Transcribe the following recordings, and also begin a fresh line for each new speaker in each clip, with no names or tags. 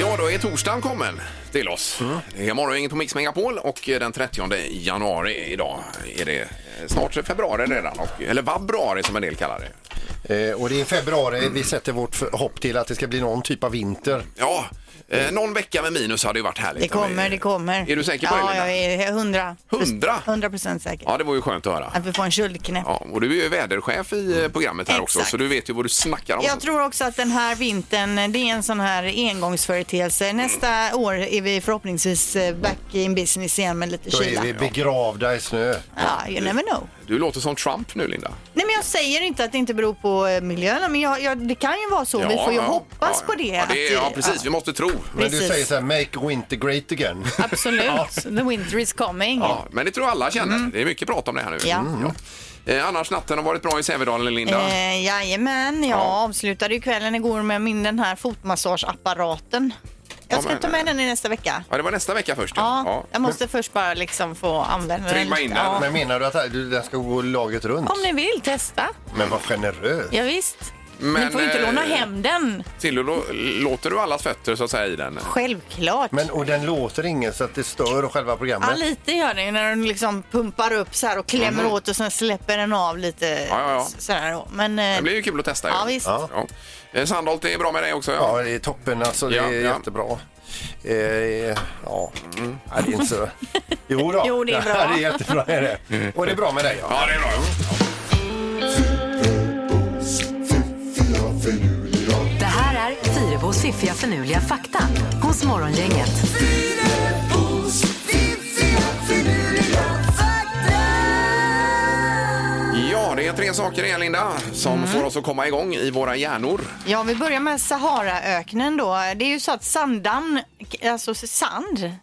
Ja, då är torsdagen kommen till oss.
Mm.
Det är morgongänget på Mix Megapol och eh, den 30 januari idag är det eh, snart februari redan, och, eller vabbraari som en del kallar det.
Eh, och det är februari vi sätter vårt för- hopp till att det ska bli någon typ av vinter.
Ja, eh, någon vecka med minus hade ju varit härligt.
Mm. Det kommer, det kommer.
Är du säker på det,
ja,
Linda?
Ja, jag är hundra.
Hundra?
Hundra procent säker.
Ja, det var ju skönt att höra.
Att vi får en köldknäpp.
Ja, och du är ju väderchef i eh, programmet här också,
Exakt.
så du vet ju vad du snackar om.
Jag tror också att den här vintern, det är en sån här engångsföreteelse. Nästa år är vi förhoppningsvis eh, back in business igen med lite
Då är
kyla.
vi begravda i snö.
Ja, you never know.
Du låter som Trump nu, Linda.
Nej, men jag säger inte att det inte beror på eh, miljön, men jag, jag, det kan ju vara så. vi
Ja,
får ju
ja,
hoppas
ja,
på det.
Ja, det
att
är, ja precis. Vi måste tro.
Men du
Precis.
säger så här, make winter great again.
Absolut. The winter is coming.
Ja, men det tror jag alla känner. Det är mycket prat om det här nu.
Mm. Ja.
Ja. Eh, annars, natten har varit bra i Sävedalen, Linda.
Eh, jajamän, jag
Ja.
avslutade ju kvällen igår med min den här fotmassageapparaten.
Ja,
Jag ska
men-
ta med den i nästa vecka.
Ja, det var nästa vecka först.
Ja,
Ja.
jag måste först bara liksom få använda
Trimma
lite.
in den.
Ja.
Men menar du att du- den ska gå laget runt?
Om ni vill testa.
Men vad generös.
Ja, visst.
Men,
ni får ju inte
eh,
låna hem den.
Till och då, låter du allas fötter så att säga i den?
Självklart.
Men, och den låter ingen så att det stör själva programmet.
Ja, lite gör den ju när den liksom pumpar upp så här och klämmer åt och sen släpper den av lite.
Mhm. ja, ja.
s- Så här. då. Men, eh,
Det blir ju kul att testa.
Ja,
ju.
visst.
Ja.
Ja. Eh, Sandholt, det är bra med dig också. Ja.
Ja, det är toppen alltså. Det
Ja,
är
ja. Mm.
jättebra. Eh, ja, Nej, det är inte så... Jo då.
Jo, det är bra.
Ja, det är jättebra. Är
Mm.
det. Och det är bra med dig. Ja.
ja, det är bra.
Det här är Fyrabos fiffiga förnuliga fakta hos Morgongänget.
Ja, det är tre saker igen, Linda, som får oss att komma igång i våra hjärnor.
Ja, vi börjar med Saharaöknen då. Det är ju så att sandan, alltså sand,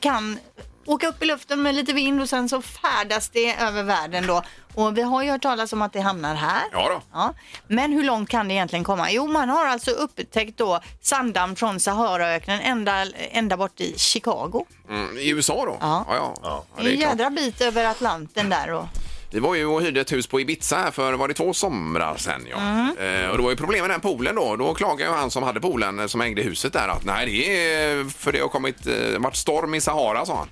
kan åka upp i luften med lite vind och sen så färdas det över världen då. Och vi har ju hört talas om att det hamnar här.
Ja då.
Ja. Men hur långt kan det egentligen komma? Jo, man har alltså upptäckt då sanddamm från Saharaöknen ända, ända bort i Chicago.
Mm, I USA då?
Ja.
ja. Ja,
Det
det
är
är
en
klart.
jädra bit över Atlanten där. Och...
Vi var ju och hyrde ett hus på Ibiza här för var det två somrar sen. Ja. Eh, och det var ju problem med den poolen då. Då klagade ju han som hade poolen eh, som ägde huset där att nej det är för det har kommit, eh, varit storm i Sahara sa han.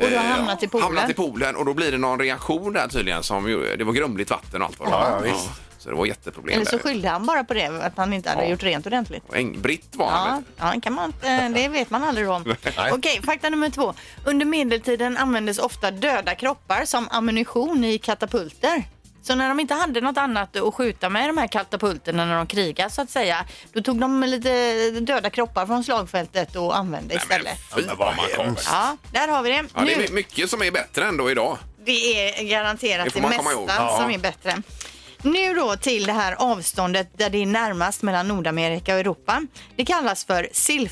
Och du har
Eh,
hamnat i poolen.
Hamnat i poolen och då blir det någon reaktion där tydligen som ju, det var grumligt vatten och allt vad det var.
Ja, ja, visst.
Så det var jätteproblem.
Eller så
där.
skyllde han bara på det, att han inte hade
Ja.
gjort rent ordentligt.
Och Eng- Britt var han.
Ja,
vet du.
ja kan man inte, det vet man aldrig om. Okej, fakta nummer två. Under medeltiden användes ofta döda kroppar som ammunition i katapulter. Så när de inte hade något annat att skjuta med i de här katapulterna när de krigade så att säga, då tog de lite döda kroppar från slagfältet och använde istället.
Fy vad makabert.
Ja, där har vi det.
Ja, det är
Nu-
my- mycket som är bättre ändå idag.
det är garanterat
Det
det,
får man komma
mesta
ihåg. Ja.
som är bättre. Nu då till det här avståndet där det är närmast mellan Nordamerika och Europa. Det kallas för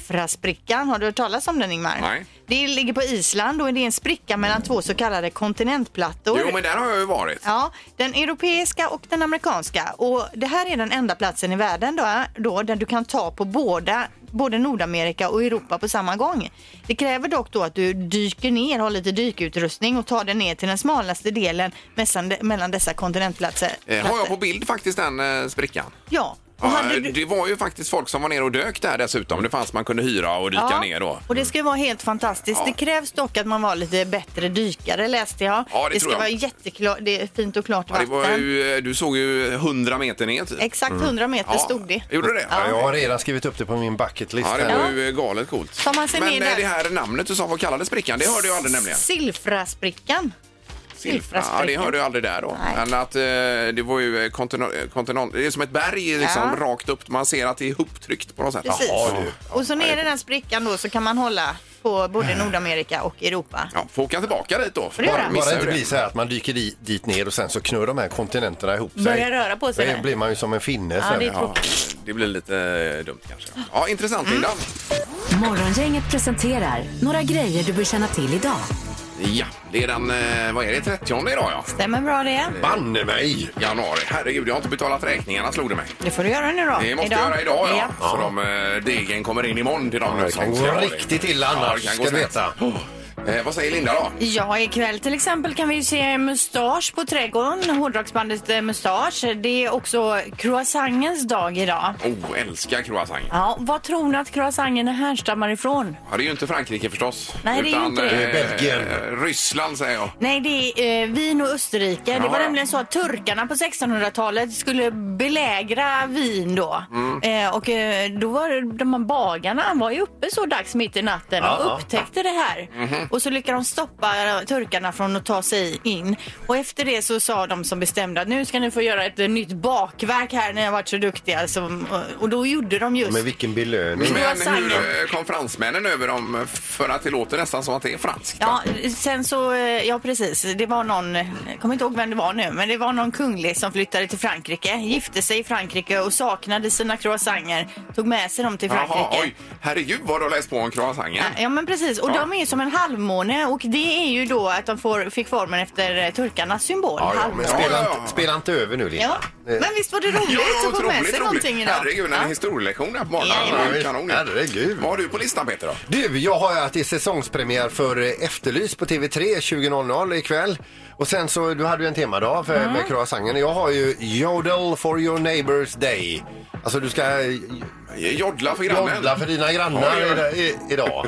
Silfrasprickan. Har du hört talas om den Ingmar?
Nej.
Det ligger på Island och det är en spricka mellan två så kallade kontinentplattor.
Jo men där har jag ju varit.
Ja, den europeiska och den amerikanska. Och det här är den enda platsen i världen då, då där du kan ta på båda, både Nordamerika och Europa på samma gång. Det kräver dock då att du dyker ner, har lite dykutrustning och tar dig ner till den smalaste delen messan- mellan dessa kontinentplatser.
Eh, har jag på bild faktiskt den eh, sprickan?
Ja. Och
Ja, eh,
hade du-
Det var ju faktiskt folk som var nere och dök där dessutom. Det fanns man kunde hyra och dyka
Ja,
ner då.
Och det ska ju vara helt fantastiskt.
Ja.
Det krävs dock att man var lite bättre dykare läste jag.
Ja, det
ska
tror jag.
vara jätteklart, det är fint och klart
Ja, det
vatten.
var ju, eh, du såg ju 100 meter ner typ.
Exakt 100 meter
Ja,
stod det.
Gjorde du det?
Ja, jag har redan skrivit upp det på min bucketlist.
Ja, det
här.
var ju eh, galet coolt.
Tar man sig
Men
ner
eh,
där?
det här namnet du sa, vad kallades sprickan? Det hörde jag aldrig nämligen.
Silfrasprickan.
Silfra. Ja, det hör du aldrig där då.
Nej.
Men att eh, det var ju eh, kontinent, kontinent, det är som ett berg liksom
Ja.
rakt upp. Man ser att det är ihoptryckt på något sätt.
Precis.
Jaha, du.
Och så ner i den sprickan då så kan man hålla på både
Mm.
Nordamerika och Europa.
Ja, får åka tillbaka dit då. För
det gör
bara
jag.
missar
Bara det
ju
inte
det.
blir så här att man dyker di- dit ner och sen så knör de här kontinenterna ihop sig.
Börjar röra på sig
Då
där.
blir man ju som en finne
Ja,
sen.
det är
Ja,
tråkigt. Mm.
det blir lite eh, dumt kanske. Ja, intressant Linda.
Morgongänget presenterar några grejer du bör känna till idag.
Ja, det är den, eh, vad är det, 30 idag ja?
Stämmer bra det?
Banne mig!
Januari. Herregud, jag har inte betalat räkningarna slog det mig.
Det får du göra nu då.
Det måste jag göra idag ja. Så de, eh, degen kommer in imorgon till dem.
Ja, det kan
som
gå
ska ha det.
riktigt illa annars,
det kan
ska
gå
du
snett. Oh. Eh, vad säger Linda då?
Ja, ikväll till exempel kan vi se Mustasch på Trädgården, hårdrocksbandet eh, Mustasch. Det är också croissangens dag idag.
Oh, älskar croissant.
Ja, vad tror ni att croissangen härstammar ifrån?
Ja, det är ju inte Frankrike förstås.
Nej, det är ju inte det.
Det är Belgien.
eh, Ryssland säger jag.
Nej, det är eh, Wien och Österrike. det
Ja,
var
ja.
nämligen så att turkarna på 1600-talet skulle belägra Wien då.
Mm.
Eh, och eh, då var det- de här bagarna var ju uppe så dags mitt i natten och
Ja. Mhm.
upptäckte det här. Och så lyckades de stoppa eh, turkarna från att ta sig in. Och efter det så sa de som bestämde att nu ska ni få göra ett eh, nytt bakverk här. Ni har varit så duktiga. Som, och- och då gjorde de just...
Men vilken belöning.
Men
Croissant.
hur eh, kom fransmännen över dem? eh, För att det låter nästan som att det är franskt. va?
Ja, sen så, eh, ja precis, det var någon, jag kommer inte ihåg vem det var nu, men det var någon kunglig som flyttade till Frankrike, gifte sig i Frankrike och saknade sina croissanter, tog med sig dem till Frankrike.
Jaha, oj. Herregud vad du har läst på om croissanten.
Ja, men precis, och
Ja.
de är ju som en halvmåne och det är ju då att de får, fick formen efter eh, turkarnas symbol,
Ja, ja, men
halvmåne.
spela,
Ja, ja, ja.
Inte, spela inte över nu, Linda. Eh,
Ja. Men visst var det roligt att få med sig någonting idag?
Herregud, en
Ja.
historielektion här på morgonen.
Jajamän.
Det var Kanon.
Herregud.
Vad har du på listan Peter då?
Du, jag har att det är säsongspremiär för eh, Efterlys på TV3 20.00 ikväll. Och sen så, du hade ju en temadag för,
Mm.
med croissanten. Jag har ju Jodel for your neighbors day. Alltså du ska eh,
Jodla för grannen.
jodla för dina
Ja,
grannar
det gör jag.
i, i, idag.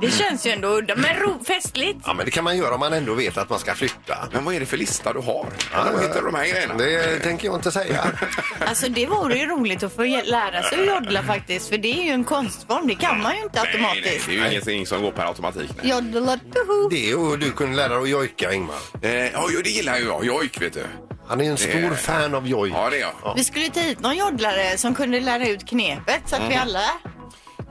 Det känns ju ändå udda, men ro, festligt.
Ja, men det kan man göra om man ändå vet att man ska flytta.
Men vad är det för lista du har? Var hittar du de här grejerna?
Det tänker jag inte säga.
Alltså det vore ju roligt att få ge- lära sig att joddla faktiskt, för det är ju en konstform, det kan man ju inte
Nej, nej,
automatiskt.
det är ju ingenting som går per automatik. Nej.
Joddla,
Det och du kunde lära dig att jojka, Ingmar.
Eh, ja, jo, det gillar ju jag. Jojk, vet du.
Han är en stor
Det-
fan av jojk.
Ja, det är jag.
Vi skulle ta hit någon joddlare som kunde lära ut knepet så att
Mm.
vi alla...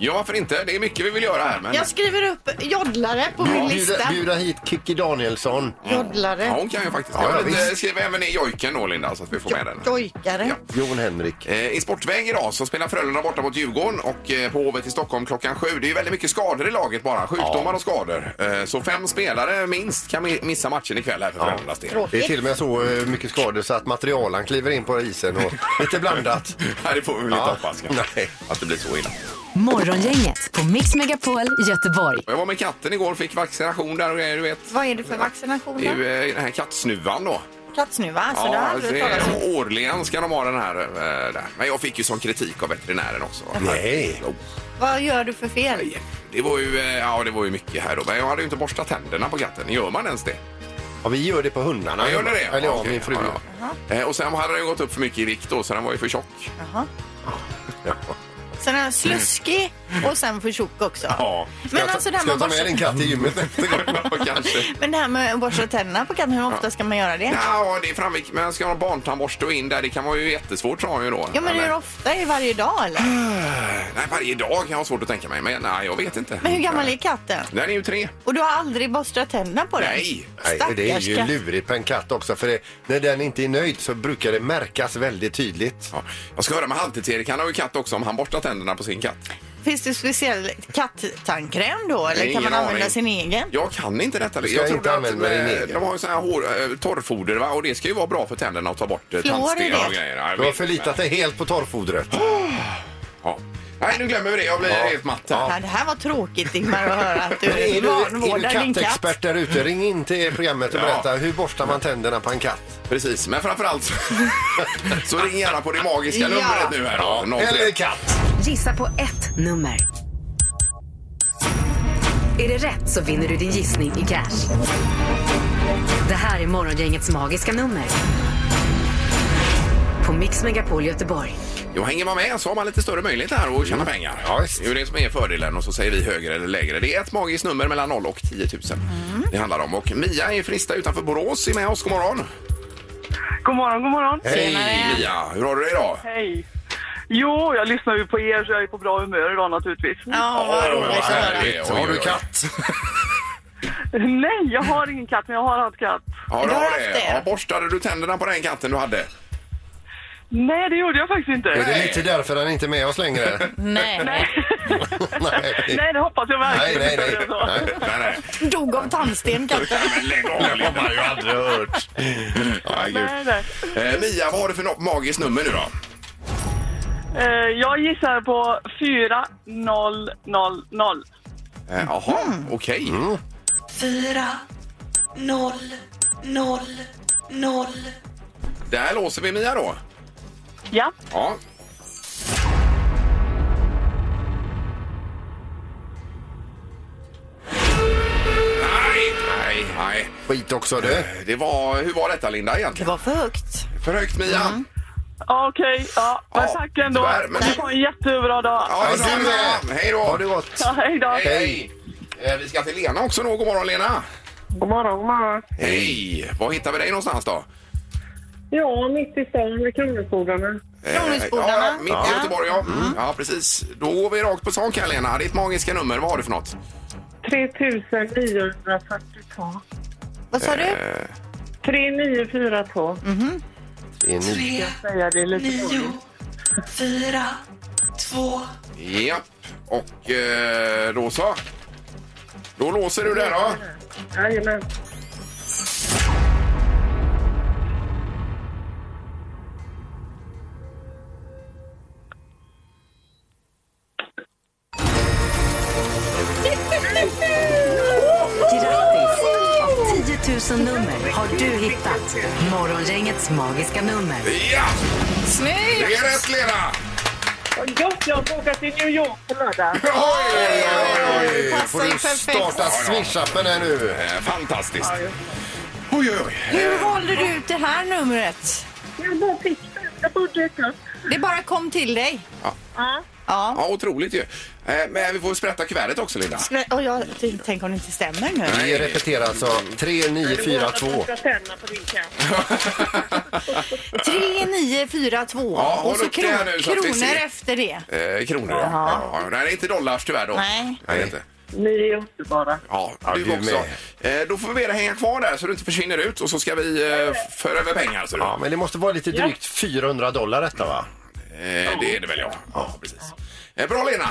Ja, varför inte? Det är mycket vi vill göra här. Men...
Jag skriver upp joddlare på min
Bjuda,
lista.
bjuda hit Kikki Danielsson.
Ja,
Joddlare.
hon kan ju faktiskt.
Ja,
Ja,
ja,
men, eh,
visst.
skriv även ner jojken då, Linda, så att vi får med den.
Jojkare.
Ja.
Jon Henrik.
Eh, I sportväg idag så spelar Frölunda borta mot Djurgården och eh, på Hovet i Stockholm klockan sju. Det är ju väldigt mycket skador i laget bara. Sjukdomar och skador. Eh, Så fem spelare minst kan mi- missa matchen ikväll här för Frölundas del.
Det är till och med så eh, mycket skador så att materialen kliver in på isen och lite blandat.
Nej, det får vi väl inte
Ja.
hoppas kanske.
Nej.
att det blir så illa.
Morgongänget på Mix Megapol Göteborg.
Jag var med katten igår fick vaccination där och grejer, du vet.
Vad är det för
Det är
vaccinationer?
ju eh, den här kattsnuvan då.
Kattsnuva? Alltså, det har jag aldrig
det
hört talas om.
är, årligen ska de ha den här. eh, där. Men jag fick ju sån kritik av veterinären också.
Nej.
Jo.
Vad gör du för fel?
Det var ju, eh, ja, det var ju mycket här då. Men jag hade ju inte borstat tänderna på katten. Gör man ens det?
Ja, vi gör det på hundarna.
Ja, gör ni det?
Eller ja,
okej.
min fru.
Ja, ja. Eh, Och sen hade den ju gått upp för mycket i vikt då, så den var ju för tjock.
Sen är han sluskig och sen för tjock också.
Ja.
Men alltså det här
Ska jag
med,
ta med
borsta,
din katt till gymmet nästa gång?
Kanske.
men det här med att borsta tänderna på katten, hur ofta ska man göra det?
Ja, det är framgick. Men ska man ha barntandborste och in där, det kan vara ju jättesvårt sa han ju då. eh,
Ja men hur ofta? Är det varje dag eller?
Nej, varje dag kan jag ha svårt att tänka mig. Men nej, jag vet inte.
Men hur gammal är
Nej.
katten?
Den är ju tre.
Och du har aldrig borstat tänderna på den?
Nej.
Nej, det är
Stackars
ju
katt.
lurigt på en katt också för det, när den inte är nöjd så brukar det märkas väldigt tydligt.
Ja. Jag ska höra med halvtids-Erik. Han har ju katt också om han borstar tänderna på sin katt.
Finns det speciell kattandkräm då? Eller
Ingen
kan man använda
aning.
sin egen?
Jag kan inte detta.
ska inte
trodde
använda din
eh,
egen.
De har ju så här hår, eh, torrfoder va? och det ska ju vara bra för tänderna att ta bort eh,
Fluor i
tandstenar
det.
och grejer. Ja, jag
Du har
vet,
förlitat dig helt på torrfodret.
men- Ja. Nej, nu glömmer vi det. Jag blir helt matt här.
Ja, det här var tråkigt Ingmar att höra att
Men Är
du
du, är du
vanvårdar din katt.
kattexpert där ute? Ring in till programmet och
Ja.
berätta hur borstar man tänderna på en katt?
Precis, men framförallt så, så ring gärna på det magiska
Ja.
numret nu här då. 03.
Eller katt!
Gissa på ett nummer. Är det rätt så vinner du din gissning i cash. Det här är Morgongängets magiska nummer. På Mix Megapol Göteborg.
Jo, hänger man med så har man lite större möjlighet här att tjäna pengar.
Ja, visst.
det är ju det som är fördelen och så säger vi högre eller lägre. Det är ett magiskt nummer mellan 0 och 10 000
Mm.
det handlar om. Och Mia är Frista utanför Borås är med oss. God morgon!
God morgon, god morgon.
Hej Mia! Hur har du det idag?
Hej. Jo, jag lyssnar ju på er så jag är på bra humör idag naturligtvis.
Ja, vad roligt att höra.
härligt.
Så
Oj,
har
oj,
du
oj.
katt?
Nej, jag har ingen katt men jag har haft katt.
Ja, du
Du har
har
haft
det.
det.
Ja, borstade du tänderna på den katten du hade?
Nej, det gjorde jag faktiskt
Är
inte.
det lite därför han inte är med oss längre?
Nej.
Nej,
nej.
nej det hoppas jag
Nej,
verkligen
nej,
inte.
nej.
Nej,
nej.
nej.
Dog av tandsten katten.
Nej, men lägg av! Det har man ju aldrig hört.
Ja, gud.
nej, nej.
Eh, Mia, vad har du för no- magiskt nummer nu då?
Eh, jag gissar på 4000.
Eh, Jaha, okej. Där låser vi Mia då.
Ja.
Ja. Nej, nej, nej.
Skit också du.
Det var, hur var detta Linda
Det
egentligen?
var för högt.
För högt Mia?
Okej, ja. Men
Ja,
tack ändå.
tyvärr, men-
Du har en jättebra dag.
Ja, det är
du
bra.
med.
Hej då!
Ha det gott.
Ja, hej då.
Hej, hej. Eh, Vi ska till Lena också då. God morgon Lena!
God morgon, god morgon.
Hej! Var hittar vi dig någonstans då?
Ja, mitt i stan med Kronofogdarna.
Eh,
Kronhusbodarna.
Ja, mitt i Göteborg ja. Ja, precis. Då går vi rakt på sak här Lena. Ditt magiska nummer, vad har du för något?
3942.
Vad sa du?
Eh.
3942.
Det är ni.
Säga det lite dåligt.
Japp. Och eh, då så. Då låser du där då.
Jajamän.
Grattis! Av 10 000 nummer har du hittat Morgongängets magiska nummer.
Ja! Det
Snyggt!
är rätt Lena!
Vad gott, jag ska åka till New York på lördag.
Oj, oj, oj, oj.
Oj,
Passar
får
ju
du
perfekt.
starta Swish-appen här nu?
Eh, Fantastiskt. Oj, oj, oj.
Hur valde du ut det här numret?
Jag bara fick det. Jag bodde inte.
Det bara kom till dig. Ja.
Ja, otroligt ju. Eh, Men vi får sprätta kuvertet också Linda.
Men, och jag tänk om det inte stämmer nu.
Vi repeterar alltså 3942.
3942
Ja, håll
och så
upp det här nu så att vi
kronor
ser.
efter det.
Eh, Kronor ja. ja. Nej, det är inte dollars tyvärr då.
Nej.
Nej, det är inte.
Ni är underbara.
Ja, du,
du
också. Eh, Då får vi be dig hänga kvar där så du inte försvinner ut och så ska vi eh, föra över pengar. Så du.
Ja, men det måste vara lite drygt 400 dollar detta va?
Eh, Det är det väl ja. ja precis. Eh, Bra Lena!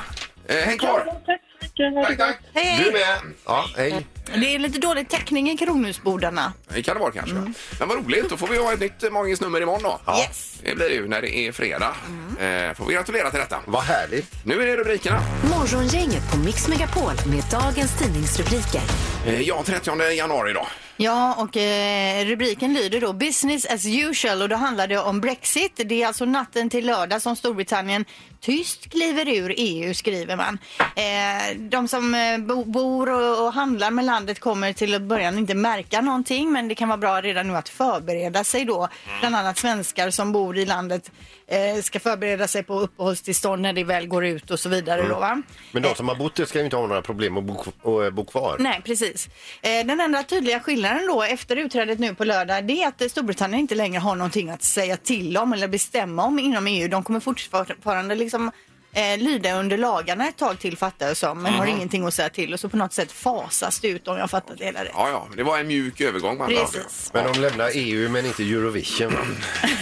Eh, Häng kvar!
Tack så mycket. Ha det
Tack,
bra.
tack!
Du
Hej,
med. Ja, hej.
det är lite dålig täckning i Kronhusbodarna.
Det kan det vara kanske. Men vad roligt, då får vi ha ett nytt eh, magiskt nummer imorgon då.
Ja.
Yes.
Det blir det ju när det är fredag. Eh, Får vi gratulera till detta.
Vad härligt.
Nu är det rubrikerna.
Morgongänget på Mix Megapol med dagens tidningsrubriker.
Eh, Ja, 30 januari idag.
Ja, och eh, rubriken lyder då Business as usual och då handlar det om Brexit. Det är alltså natten till lördag som Storbritannien tyst kliver ur EU, skriver man. Eh, de som eh, bo, bor och, och handlar med landet kommer till att början inte märka någonting, men det kan vara bra redan nu att förbereda sig då. Bland annat svenskar som bor i landet eh, ska förbereda sig på uppehållstillstånd när det väl går ut och så vidare då, va?
Mm. Men de som har bott där ska ju inte ha några problem att bo, och, eh, bo kvar.
Nej, precis. Eh, Den enda tydliga skillnaden då efter utträdet nu på lördag det är att eh, Storbritannien inte längre har någonting att säga till om eller bestämma om inom EU. De kommer fortfarande liksom eh, lyda under lagarna ett tag till fattar jag som, men har ingenting att säga till och så på något sätt fasas det ut om jag fattat det hela rätt.
Ja, ja, det var en mjuk övergång. Man
Precis,
Men de lämnar EU men inte Eurovision. va?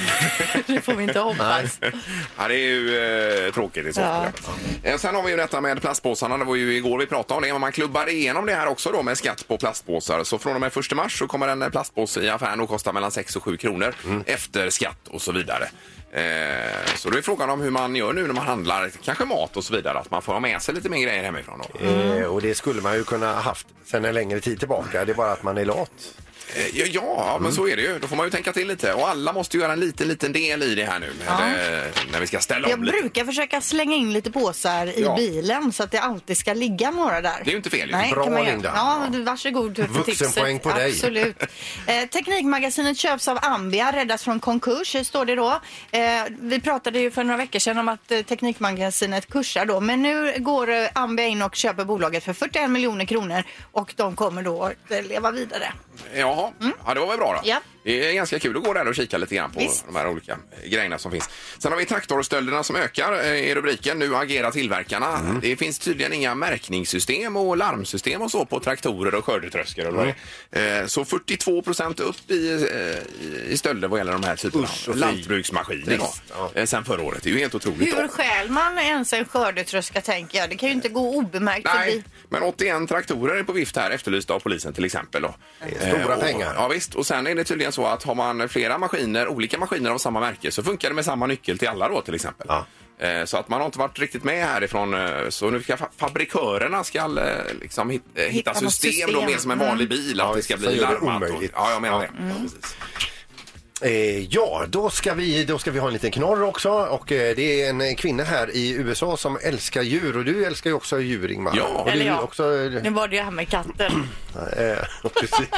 det får vi inte hoppas.
Ja, det är ju eh, tråkigt i så fall. Eh, Sen har vi ju detta med plastpåsarna. Det var ju igår vi pratade om det. Men man klubbade igenom det här också då med skatt på plastpåsar. Så från och med 1 mars så kommer en eh, plastpåse i affären att kosta mellan 6 och 7 kronor
Mm.
efter skatt och så vidare. Eh, så då är frågan om hur man gör nu när man handlar kanske mat och så vidare. Att man får ha med sig lite mer grejer hemifrån då.
Mm. Eh, och det skulle man ju kunna haft sedan en längre tid tillbaka. Det är bara att man är lat.
Eh, Ja, ja men så är det ju. Då får man ju tänka till lite. Och alla måste ju göra en liten, liten del i det här nu. Eh, När vi ska ställa
Jag
om lite.
brukar försöka slänga in lite påsar i
Ja.
bilen så att det alltid ska ligga några där.
Det är ju inte fel ju.
Nej,
Bra,
kan man göra.
Linda.
Ja, du, varsågod för tipset.
Vuxenpoäng på dig.
Absolut. Eh, Teknikmagasinet köps av Ambia, räddas från konkurs, står det då. Eh, vi pratade ju för några veckor sedan om att eh, Teknikmagasinet kursar då, men nu går eh, Ambia in och köper bolaget för 41 miljoner kronor och de kommer då att eh, leva vidare.
Jaha, ja, det var väl bra då.
Mm. Ja.
Det är ganska kul att gå där och kika lite grann på
Visst.
de här olika grejerna som finns. Sen har vi traktorstölderna som ökar eh, i rubriken. Nu agerar tillverkarna. Det finns tydligen inga märkningssystem och larmsystem och så på traktorer och skördetröskor. Och vad det är. Eh, Så 42 procent upp i, eh, i- i stölder vad gäller de här typerna
Usch,
av
och fy.
lantbruksmaskiner
Trist,
då.
ja.
Eh, sen förra året. Det är ju helt otroligt.
Hur
då.
stjäl man ens en skördetröska tänker jag? Det kan ju inte gå obemärkt
Nej,
förbi.
men 81 traktorer är på vift här efterlysta av polisen till exempel. Då. Eh,
stora
och,
pengar.
Ja, visst. Och sen är det tydligen så att har man flera maskiner, olika maskiner av samma märke så funkar det med samma nyckel till alla då till exempel.
Ja.
Eh, Så att man har inte varit riktigt med härifrån. eh, Så nu ska fa- fabrikörerna ska eh, liksom hit, eh, hitta,
Hitta något
system, Då,
system.
mer som en vanlig bil.
Ja,
Att det ska
så
bli
gör det
larmat. och-
omöjligt.
Ja, jag menar det.
Eh, ja, då ska, vi, då ska vi ha en liten knorr också. Och eh, det är en eh, kvinna här i USA som älskar djur. Och du älskar ju också djur, Ingmar.
Ja.
och
Eller
du
ja.
också... eh,
Nu var det ju här med katten.
Eh, precis.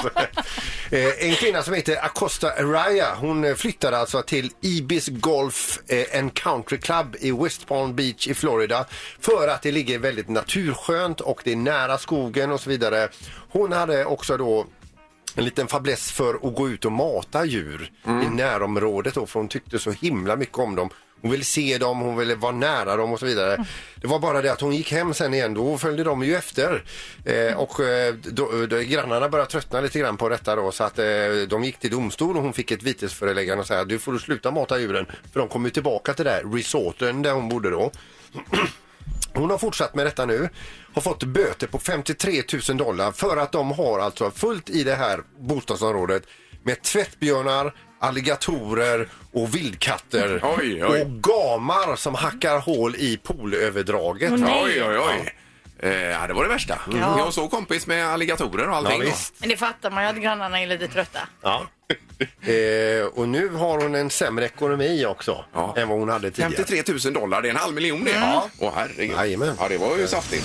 Eh, en kvinna som heter Acosta Araya, hon eh, flyttade alltså till Ibis Golf eh, and Country Club i West Palm Beach i Florida för att det ligger väldigt naturskönt och det är nära skogen och så vidare. Hon hade också då en liten fäbless för att gå ut och mata djur i närområdet då, för hon tyckte så himla mycket om dem. Hon ville se dem, hon ville vara nära dem och så vidare. Det var bara det att hon gick hem sen igen, då följde de ju efter. Eh, och eh, då, då, grannarna började tröttna lite grann på detta då så att eh, de gick till domstol och hon fick ett vitesföreläggande och sa du får du sluta mata djuren för de kommer ju tillbaka till det här resorten där hon bodde då. Hon har fortsatt med detta nu. Har fått böter på 53 000 dollar för att de har alltså fullt i det här bostadsområdet med tvättbjörnar, alligatorer och vildkatter.
Oj, oj.
Och gamar som hackar hål i poolöverdraget.
Oj, oj, oj. Eh, Ja, det var det värsta. Jag var så kompis med alligatorer och allting.
Ja,
då.
visst.
Men det fattar man ju att grannarna är lite trötta.
Ja. eh, och nu har hon en sämre ekonomi också
Ja.
än vad hon hade tidigare.
53 000 dollar, det är en halv miljon det. Ja. Åh herregud.
Mm. Jajamän.
Ja, det var ju saftigt.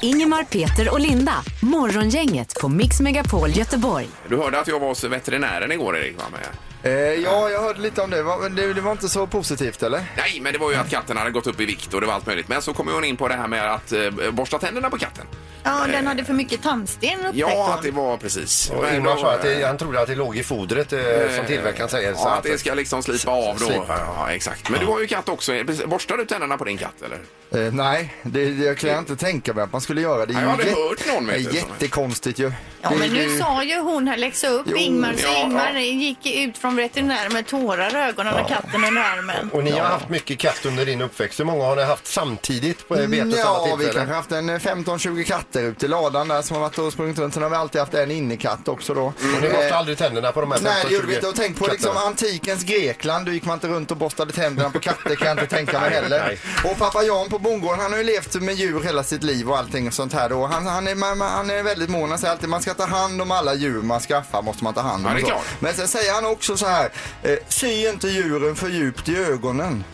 Ingemar, Peter och Linda. Morgongänget på Mix Megapol Göteborg.
Du hörde att jag var hos veterinären igår Erik va? Med.
Eh, ja, jag hörde lite om det. Va- Det, det var inte så positivt eller?
Nej, men det var ju att katten hade gått upp i vikt och det var allt möjligt. Men så kom hon in på det här med att eh, borsta tänderna på katten.
Ja, den hade för mycket tandsten upptäckte
Ja,
hon.
att det var precis.
Och
Men
Ingmar
då,
sa att
eh,
det, han trodde att det låg i fodret eh, som tillverkaren säger. så
Ja, att det ska liksom slipa av då.
Slipa, ja.
Ja, exakt. Men du har ju katt också. Borstar du tänderna på din katt eller?
Eh, nej, det, det kan jag inte tänka mig att man skulle göra. Det
Nej,
ju
jag hade
jätte-
hört någon, vet
det
du,
är
som-
jättekonstigt ju.
Ja,
Det-
men nu
det-
sa ju hon här, läxa upp
Jo,
Ingmar, så
ja,
Ingmar
ja.
gick ut från veterinären med tårar i ögonen och katten under armen.
Och ni har haft mycket katt under din uppväxt. Hur många har ni haft samtidigt på eh, vid ett och samma
Mm, Ja, vi
tillfälle?
kanske haft en eh, 15-20 katter ute i ladan där som har varit och sprungit runt. Sen har vi alltid haft en innekatt också då.
Mm.
Eh,
Och ni borstar aldrig tänderna på de här
Nej,
15-20
det gjorde vi inte. Och tänk på liksom
katterna.
antikens Grekland. Då gick man inte runt och borstade tänderna på katter kan jag inte tänka mig
Nej,
heller.
nej.
Och pappa Jan på bondgården, han har ju levt med djur hela sitt liv och allting och sånt här då. Han, han, är, man, man- han är väldigt mån. Han säger alltid man ska ta hand om alla djur man skaffar. Måste man ta hand om.
Ja, det är
och så.
klart.
Men sen säger han också så här. Eh, sy inte djuren för djupt i ögonen.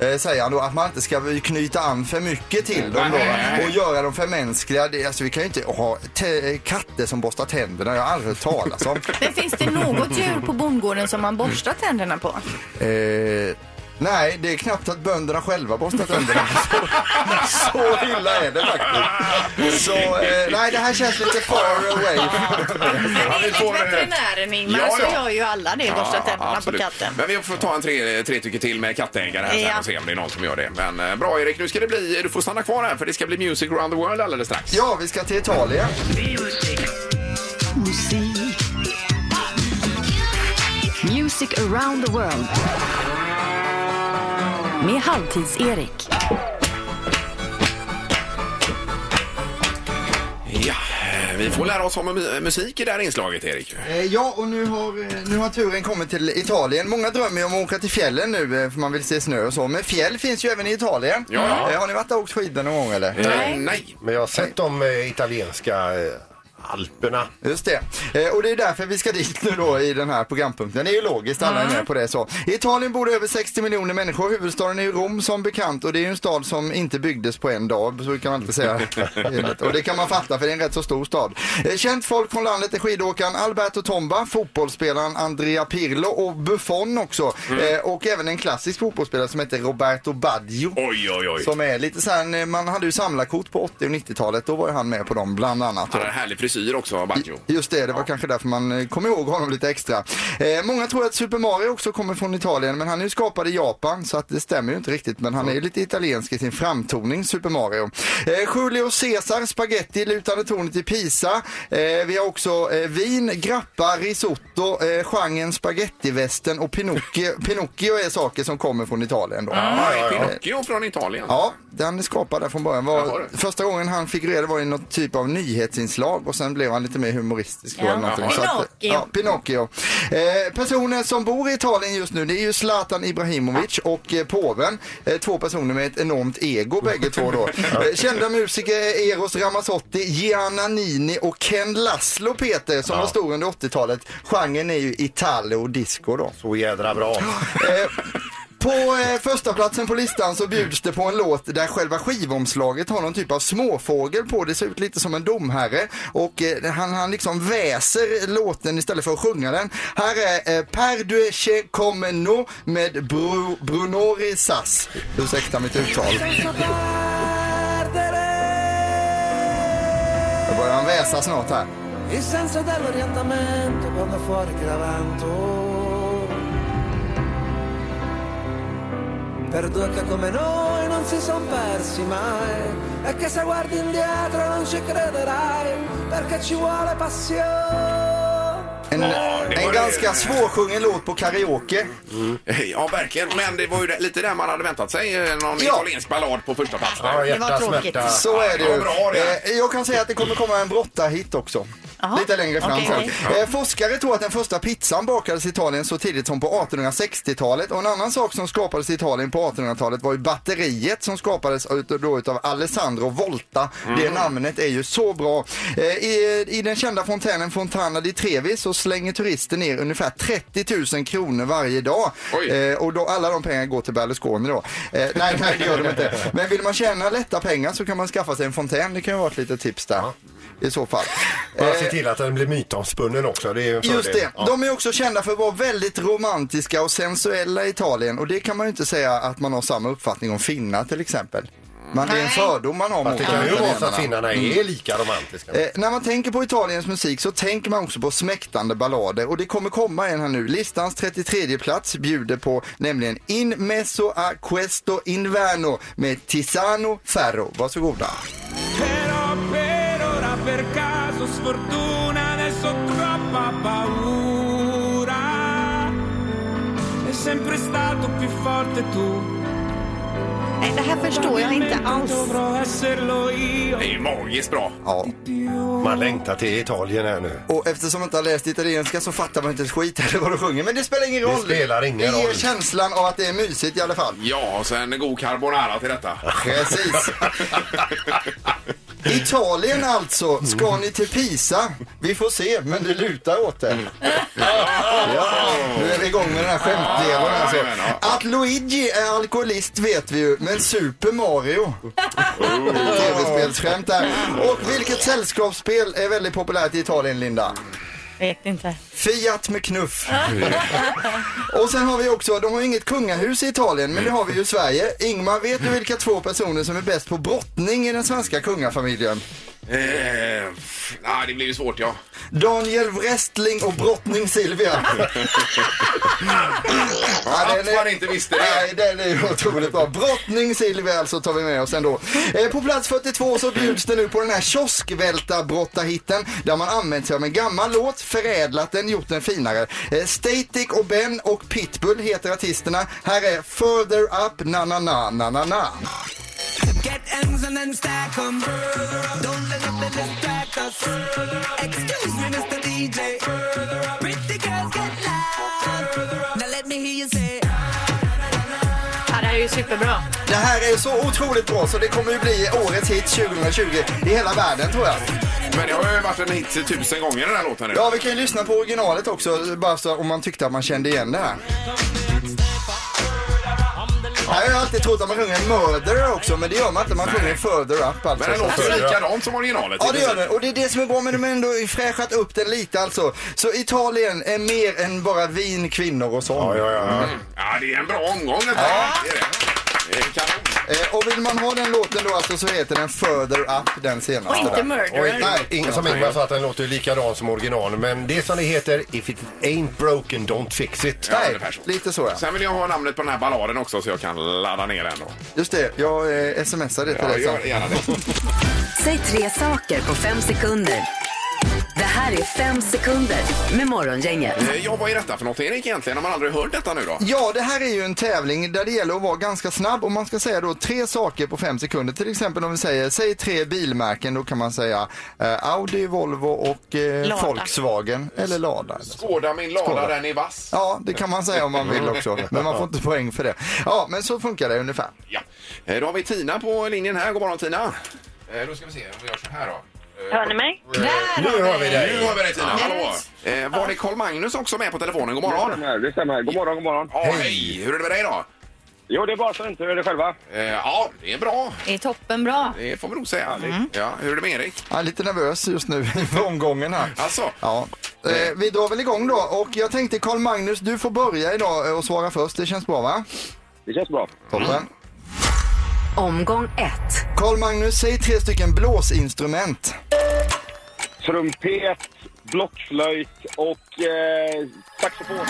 Eh, säger han då att man inte ska knyta an för mycket till dem då. va?
Nej.
Och göra dem för mänskliga. Det, alltså, vi kan ju inte ha te- katter som borstar tänderna. Jag har aldrig hört talas om.
Men finns det något djur på bondgården som man borstar tänderna på?
Eh, nej, det är knappt att bönderna själva borstar tänderna. Så, så illa är det faktiskt. Så, eh, nej, det här känns lite far away.
Men enligt
får, eh,
veterinären Ingmar
ja, ja.
så gör ju alla det, borstar tänderna på
absolut.
katten.
Men vi får ta en tre, tre tycker till med kattägare här sen
Ja.
och se om det är någon som gör det. Men eh, bra Erik, nu ska det bli, du får stanna kvar här för det ska bli Music around the world alldeles strax.
Ja, vi ska till Italien.
Music around the world. Med Halvtids-Erik.
Ja, eh, vi får lära oss om mu- musik i det här inslaget Erik.
Eh, ja, och nu har, eh, nu har turen kommit till Italien. Många drömmer ju om att åka till fjällen nu eh, för man vill se snö och så. Men fjäll finns ju även i Italien.
Ja, ja.
Eh, har ni varit och åkt skidor någon gång eller?
Nej. Nej.
Men jag har sett de eh, italienska eh, Alperna.
Just det. Eh, och det är därför vi ska dit nu då i den här programpunkten. Det är ju logiskt, alla är med på det så. I Italien bor det över 60 miljoner människor. Huvudstaden är ju Rom som bekant och det är ju en stad som inte byggdes på en dag. Så kan man inte säga. och det kan man fatta för det är en rätt så stor stad. Eh, känt folk från landet är skidåkaren Alberto Tomba, fotbollsspelaren Andrea Pirlo och Buffon också. Eh, och även en klassisk fotbollsspelare som heter Roberto Baggio.
Oj, oj, oj.
Som är lite såhär, man hade ju samlarkort på 80 och 90-talet. Då var ju han med på dem bland annat. då.
Han hade en härlig frisyr också, Baggio.
Just det, det var kanske därför man eh, kom ihåg honom lite extra. Eh, många tror att Super Mario också kommer från Italien, men han är ju skapad i Japan så att det stämmer ju inte riktigt. Men han är ju lite italiensk i sin framtoning, Super Mario. Eh, Julio Caesar, spaghetti, lutande tornet i Pisa. Eh, vi har också eh, vin, grappa, risotto, eh, genren spagettivästen och Pinocchio, Pinocchio är saker som kommer från Italien då.
Ja, Pinocchio från Italien.
Ja, den skapade från början.
Jaha,
Var,
du.
första gången han figurerade var i något typ av nyhetsinslag och sen blev han lite mer humoristisk. då
Ja.
Eller någonting.
Jaha.
Så att-
Pinocchio.
Ja, Pinocchio. Eh, personer som bor i Italien just nu det är ju Zlatan Ibrahimovic och eh, påven. Eh, två personer med ett enormt ego bägge två då. Eh, kända musiker är Eros Ramazzotti, Gianna Nini och Ken Laszlo Peter som var stor under 80-talet. Genren är ju Italo och disco då.
Så jädra bra.
Eh, På eh, första platsen på listan så bjuds det på en låt där själva skivomslaget har någon typ av småfågel på. Det ser ut lite som en domherre och eh, han, han liksom väser låten istället för att sjunga den. Här är eh, Per Dueche Come No med Bru, Brunori Sass. Ursäkta mitt uttal. Då börjar han väsa snart här.
E
En,
det var
en
det.
ganska svårsjungen låt på karaoke.
Eh, Ja, verkligen. Men det var ju lite där man hade väntat sig. eh, Någon
Ja.
italiensk ballad på första plats. där.
Ja, hjärta,
Det var tråkigt.
smärta.
Så är det
Ja,
ju.
bra det.
Eh, Jag kan säga att det kommer komma en brotta-hit också.
Jaha.
Lite längre fram
Okej,
sen.
okej.
Eh, forskare tror att den första pizzan bakades i Italien så tidigt som på 1860-talet. Och en annan sak som skapades i Italien på 1800-talet var ju batteriet som skapades ut- då utav Alessandro Volta.
Mm.
Det namnet är ju så bra. Eh, i, I den kända fontänen Fontana di Trevi så slänger turister ner ungefär 30 000 kronor varje dag.
Oj.
Eh, Eh, och då, alla de pengarna går till Berlusconi då. Eh, nej, nej, det gör de inte. Men vill man tjäna lätta pengar så kan man skaffa sig en fontän. Det kan ju vara ett litet tips där. I så fall. Eh,
Bara se till att den blir mytomspunnen också. Det är ju en
Just
fördel.
det.
Ja.
De är också kända för att vara väldigt romantiska och sensuella i Italien. Och det kan man ju inte säga att man har samma uppfattning om finnar till exempel. Man, det är en
Nej.
fördom man har mot
Fast det kan ju vara
Mm.
så att
italienarna.
finnarna är lika romantiska.
Eh, när man tänker på Italiens musik så tänker man också på smäktande ballader och det kommer komma en här nu. Listans 33 plats bjuder på nämligen In Mezzo a Questo Inverno med Tisano Ferro. Varsågoda.
Nej, det här förstår jag inte alls.
Det är ju magiskt bra.
Ja,
Man längtar till Italien här nu.
och eftersom man inte har läst italienska så fattar man inte ett skit heller vad de sjunger. Men det spelar ingen
Det
roll.
spelar ingen
Det ger
roll.
känslan av att det är mysigt i alla fall.
Ja, och sen en god carbonara till detta.
Precis. Italien alltså. Ska ni till Pisa? Vi får se, men det lutar åt
Mm.
det. Ja, nu är vi igång med den här skämtdelen alltså.
Ja, jajamän, ja.
Att Luigi är alkoholist vet vi ju, men Super Mario.
Oh.
Tv-spelsskämt där. Och vilket sällskapsspel är väldigt populärt i Italien, Linda?
Vet inte.
Fiat med knuff. och sen har vi också, de har ju inget kungahus i Italien, men det har vi ju i Sverige. Ingmar, vet du vilka två personer som är bäst på brottning i den svenska kungafamiljen?
Eh, pff, nej, det blir ju svårt, ja.
Daniel Wrestling och brottning Silvia. ja,
Att man inte visste det.
Nej, den är ju otroligt bra. Brottning Silvia alltså tar vi med oss ändå. Eh, på plats 42 så bjuds det nu på den här kioskvältarbrottarhitten där man använt sig av en gammal låt, förädlat den, gjort den finare. Eh, Static och Ben och Pitbull heter artisterna. Här är Further Up Na Na Na Na Na Na.
Ja, det här är ju superbra.
Det här är så otroligt bra så det kommer ju bli årets hit 2020 i hela världen tror jag.
Men det har ju varit en hit tusen gånger den här låten nu.
Ja, vi kan ju lyssna på originalet också, bara så om man tyckte att man kände igen det här. Här har jag alltid trott att man sjunger murderer också, men det gör man inte. Man sjunger further up alltså.
Men den låter ju likadant som originalet.
Ja,
i
det gör
princip.
den. Och det är det som är bra, men de har ändå fräschat upp den lite alltså. Så Italien är mer än bara vin, kvinnor och sång.
Ja, ja, ja.
Ja, det är en bra omgång detta. Det är det. Det är kanon.
Eh, och vill man ha den låten då alltså så heter den Further Up, den
Och
senaste.
inte
där.
Och
murderer.
nej, ing- som Ingvar sa att den låter ju likadan som original. Men det som det heter, if it ain't broken don't fix it.
Ja,
Nej,
ungefär så.
lite så ja.
Sen vill jag ha namnet på den här balladen också så jag kan ladda ner den då.
Just det, jag eh, smsar det till
Ja,
dig sen.
gör gärna det.
Säg tre saker på fem sekunder. Det här är fem sekunder med Morgongänget.
Eh, Ja, vad är detta för något Erik egentligen? Har man aldrig hört detta nu då?
Ja, det här är ju en tävling där det gäller att vara ganska snabb och man ska säga då tre saker på fem sekunder. Till exempel om vi säger, säg tre bilmärken, då kan man säga eh, Audi, Volvo och eh,
Lada.
Volkswagen eller Lada. eller så.
Skåda min lada,
Skåda.
den är vass. Ja.
Ja, det kan man säga om man vill också, men man får inte poäng för det. Ja, men så funkar det ungefär.
Eh, Då har vi Tina på linjen här. God morgon Tina. Eh, Då ska vi se om vi gör så här då. Eh,
Hör ni mig?
Nu hör vi
Nu
dig!
har vi dig Tina, hallå! Eh, var det Carl Magnus också med på telefonen? God morgon!
Det stämmer. God morgon, god morgon.
Ja, hej! Hur är det med dig då?
Jo, det är bara så inte hör det själva.
Eh, ja, det är bra.
Det är toppen bra.
Det får man nog säga. Ja, hur är det med Erik?
Jag är lite nervös just nu inför omgången här.
Alltså?
Ja. Eh, vi drar väl igång då och jag tänkte Carl Magnus, du får börja idag eh, och svara först. Det känns bra va?
Det känns bra.
Toppen.
Omgång ett.
Carl Magnus, säg tre stycken blåsinstrument.
Trumpet, blockflöjt och eh, saxofon.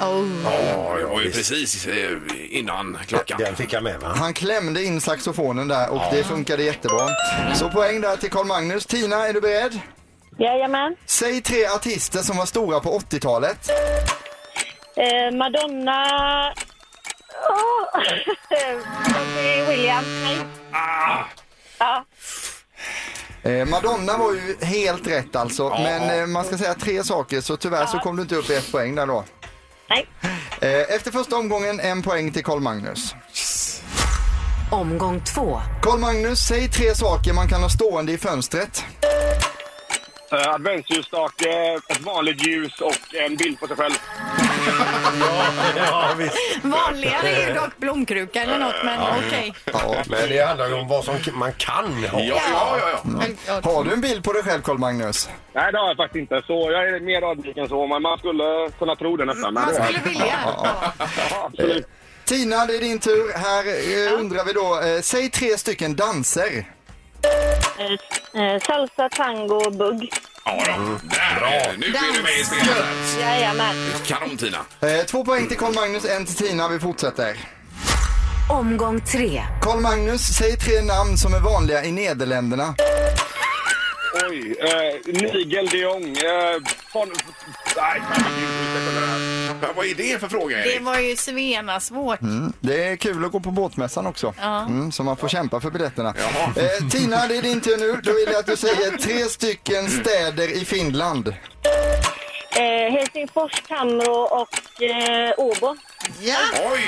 Oh.
Ja, det var ju precis eh, innan klockan.
Den fick jag med va?
Han klämde in saxofonen där och det funkade jättebra. Så poäng där till Carl Magnus. Tina, är du beredd?
Jajamän.
Säg tre artister som var stora på 80-talet.
Eh, Madonna... Oh. William.
Eh, Madonna var ju helt rätt alltså, men eh, man ska säga tre saker så tyvärr så kom du inte upp i ett poäng där då.
Nej.
Eh, efter första omgången en poäng till Carl Magnus.
Omgång två.
Carl Magnus, säg tre saker man kan ha stående i fönstret.
Eh, adventsljusstake, ett vanligt ljus och en bild på sig själv.
Ja, visst.
Vanligare är ju dock blomkruka eller något, men okej.
Ja.
Men det handlar ju om vad som k- man kan ha.
Ja, ja, ja. ja.
Har du en bild på dig själv Carl Magnus?
Nej, det har jag faktiskt inte. Så jag är mer avvik än så. Men man skulle kunna tro det nästan. Men
Man
det är
skulle vilja.
jag absolut.
Tina, det är din tur. Här eh, undrar vi då, eh, säg tre stycken danser.
Eh, salsa, tango, bugg.
Ja, då. Där, Mm. Bra. Nu är du med i spelet. här.
Jajamän.
Kanon Tina.
Eh, två poäng till Carl Magnus, en till Tina. Vi fortsätter.
Omgång tre.
Carl Magnus, säg tre namn som är vanliga i Nederländerna.
Oj. Eh, Nigel de Jong. Eh, von... Nej,
Ja, Vad är det för fråga
Det
Erik?
var ju svena svårt.
Mm.
Det är kul att gå på båtmässan också, mm, så man får kämpa för biljetterna.
Jaha.
Eh, Tina, det är din tur nu. Då vill jag att du säger tre stycken städer i Finland.
eh, Helsingfors, Tamro och eh, Åbo.
Oj!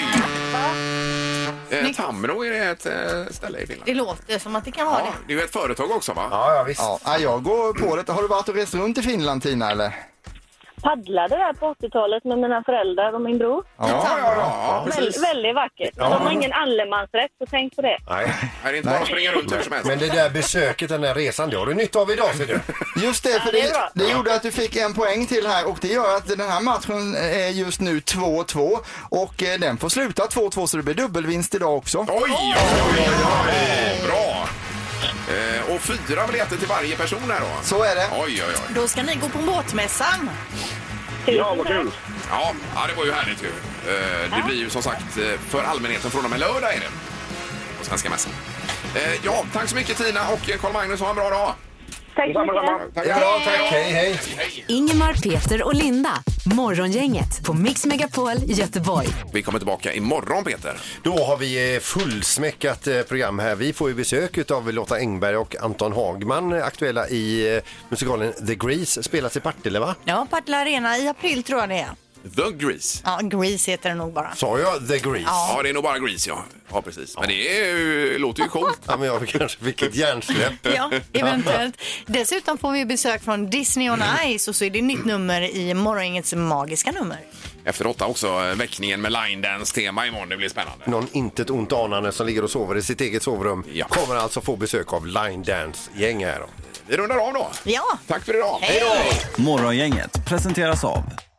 Eh, Tamro är det ett eh, ställe i Finland.
Det låter som att det kan vara
Ja,
det.
det är ju ett företag också va?
Ja, ja visst.
Ja, ah, jag går på det. Har du varit och rest runt i Finland, Tina, eller?
Paddlade där på 80-talet med mina föräldrar och min bror.
ja, ja, ja.
Väl, väldigt vackert. De har ingen allemansrätt, så tänk på det.
Nej.
Här är det inte bara att springa runt hur som helst.
Men det där besöket, den där resan, det har du nytta av idag ser du.
Just det, för
det är
det,
bra.
det gjorde att du fick en poäng till här och det gör att den här matchen är just nu 2-2 och eh, den får sluta 2-2 så det blir dubbelvinst idag också.
Oj, oj, oj, oj. Bra! Eh, och fyra biljetter till varje person här då.
Så är det.
Oj, oj, oj.
Då ska ni gå på båtmässan.
Ja, vad kul.
Ja, ja, det var ju härligt ju. Eh, det blir ju som sagt eh, för allmänheten från och med lördag är det. På Svenska Mässan. Eh, ja, tack så mycket Tina och eh, Carl-Magnus. Ha en bra dag!
Tack så mycket.
Tack.
Ja, tack. Hej, hej.
Ingemar, Peter och Linda. Morgongänget på Mix Megapol i Göteborg.
Vi kommer tillbaka imorgon Peter.
Då har vi eh, fullsmäckat eh, program här. Vi får ju besök av Lotta Engberg och Anton Hagman, eh, aktuella i eh, musikalen The Grease, spelas i Partille va?
Ja, Partille Arena i april tror jag det är.
The Grease.
Ja, Grease heter det nog bara.
Sa jag The Grease?
Ja, det är nog bara Grease, ja. Ja, precis. Men det är, ju- låter ju coolt.
Ja, men jag kanske fick ett hjärnsläpp.
Ja, eventuellt. Dessutom får vi besök från Disney on
Mm.
Ice och så är det nytt nummer i Morgongängets magiska nummer.
Efter åtta också, eh, väckningen med line dance tema imorgon. Det blir spännande.
Någon intet ont anande som ligger och sover i sitt eget sovrum
Ja.
kommer alltså få besök av Line Dance-gäng här. då.
Vi rundar av då.
Ja.
Tack för idag.
Hej då!
Morgongänget presenteras av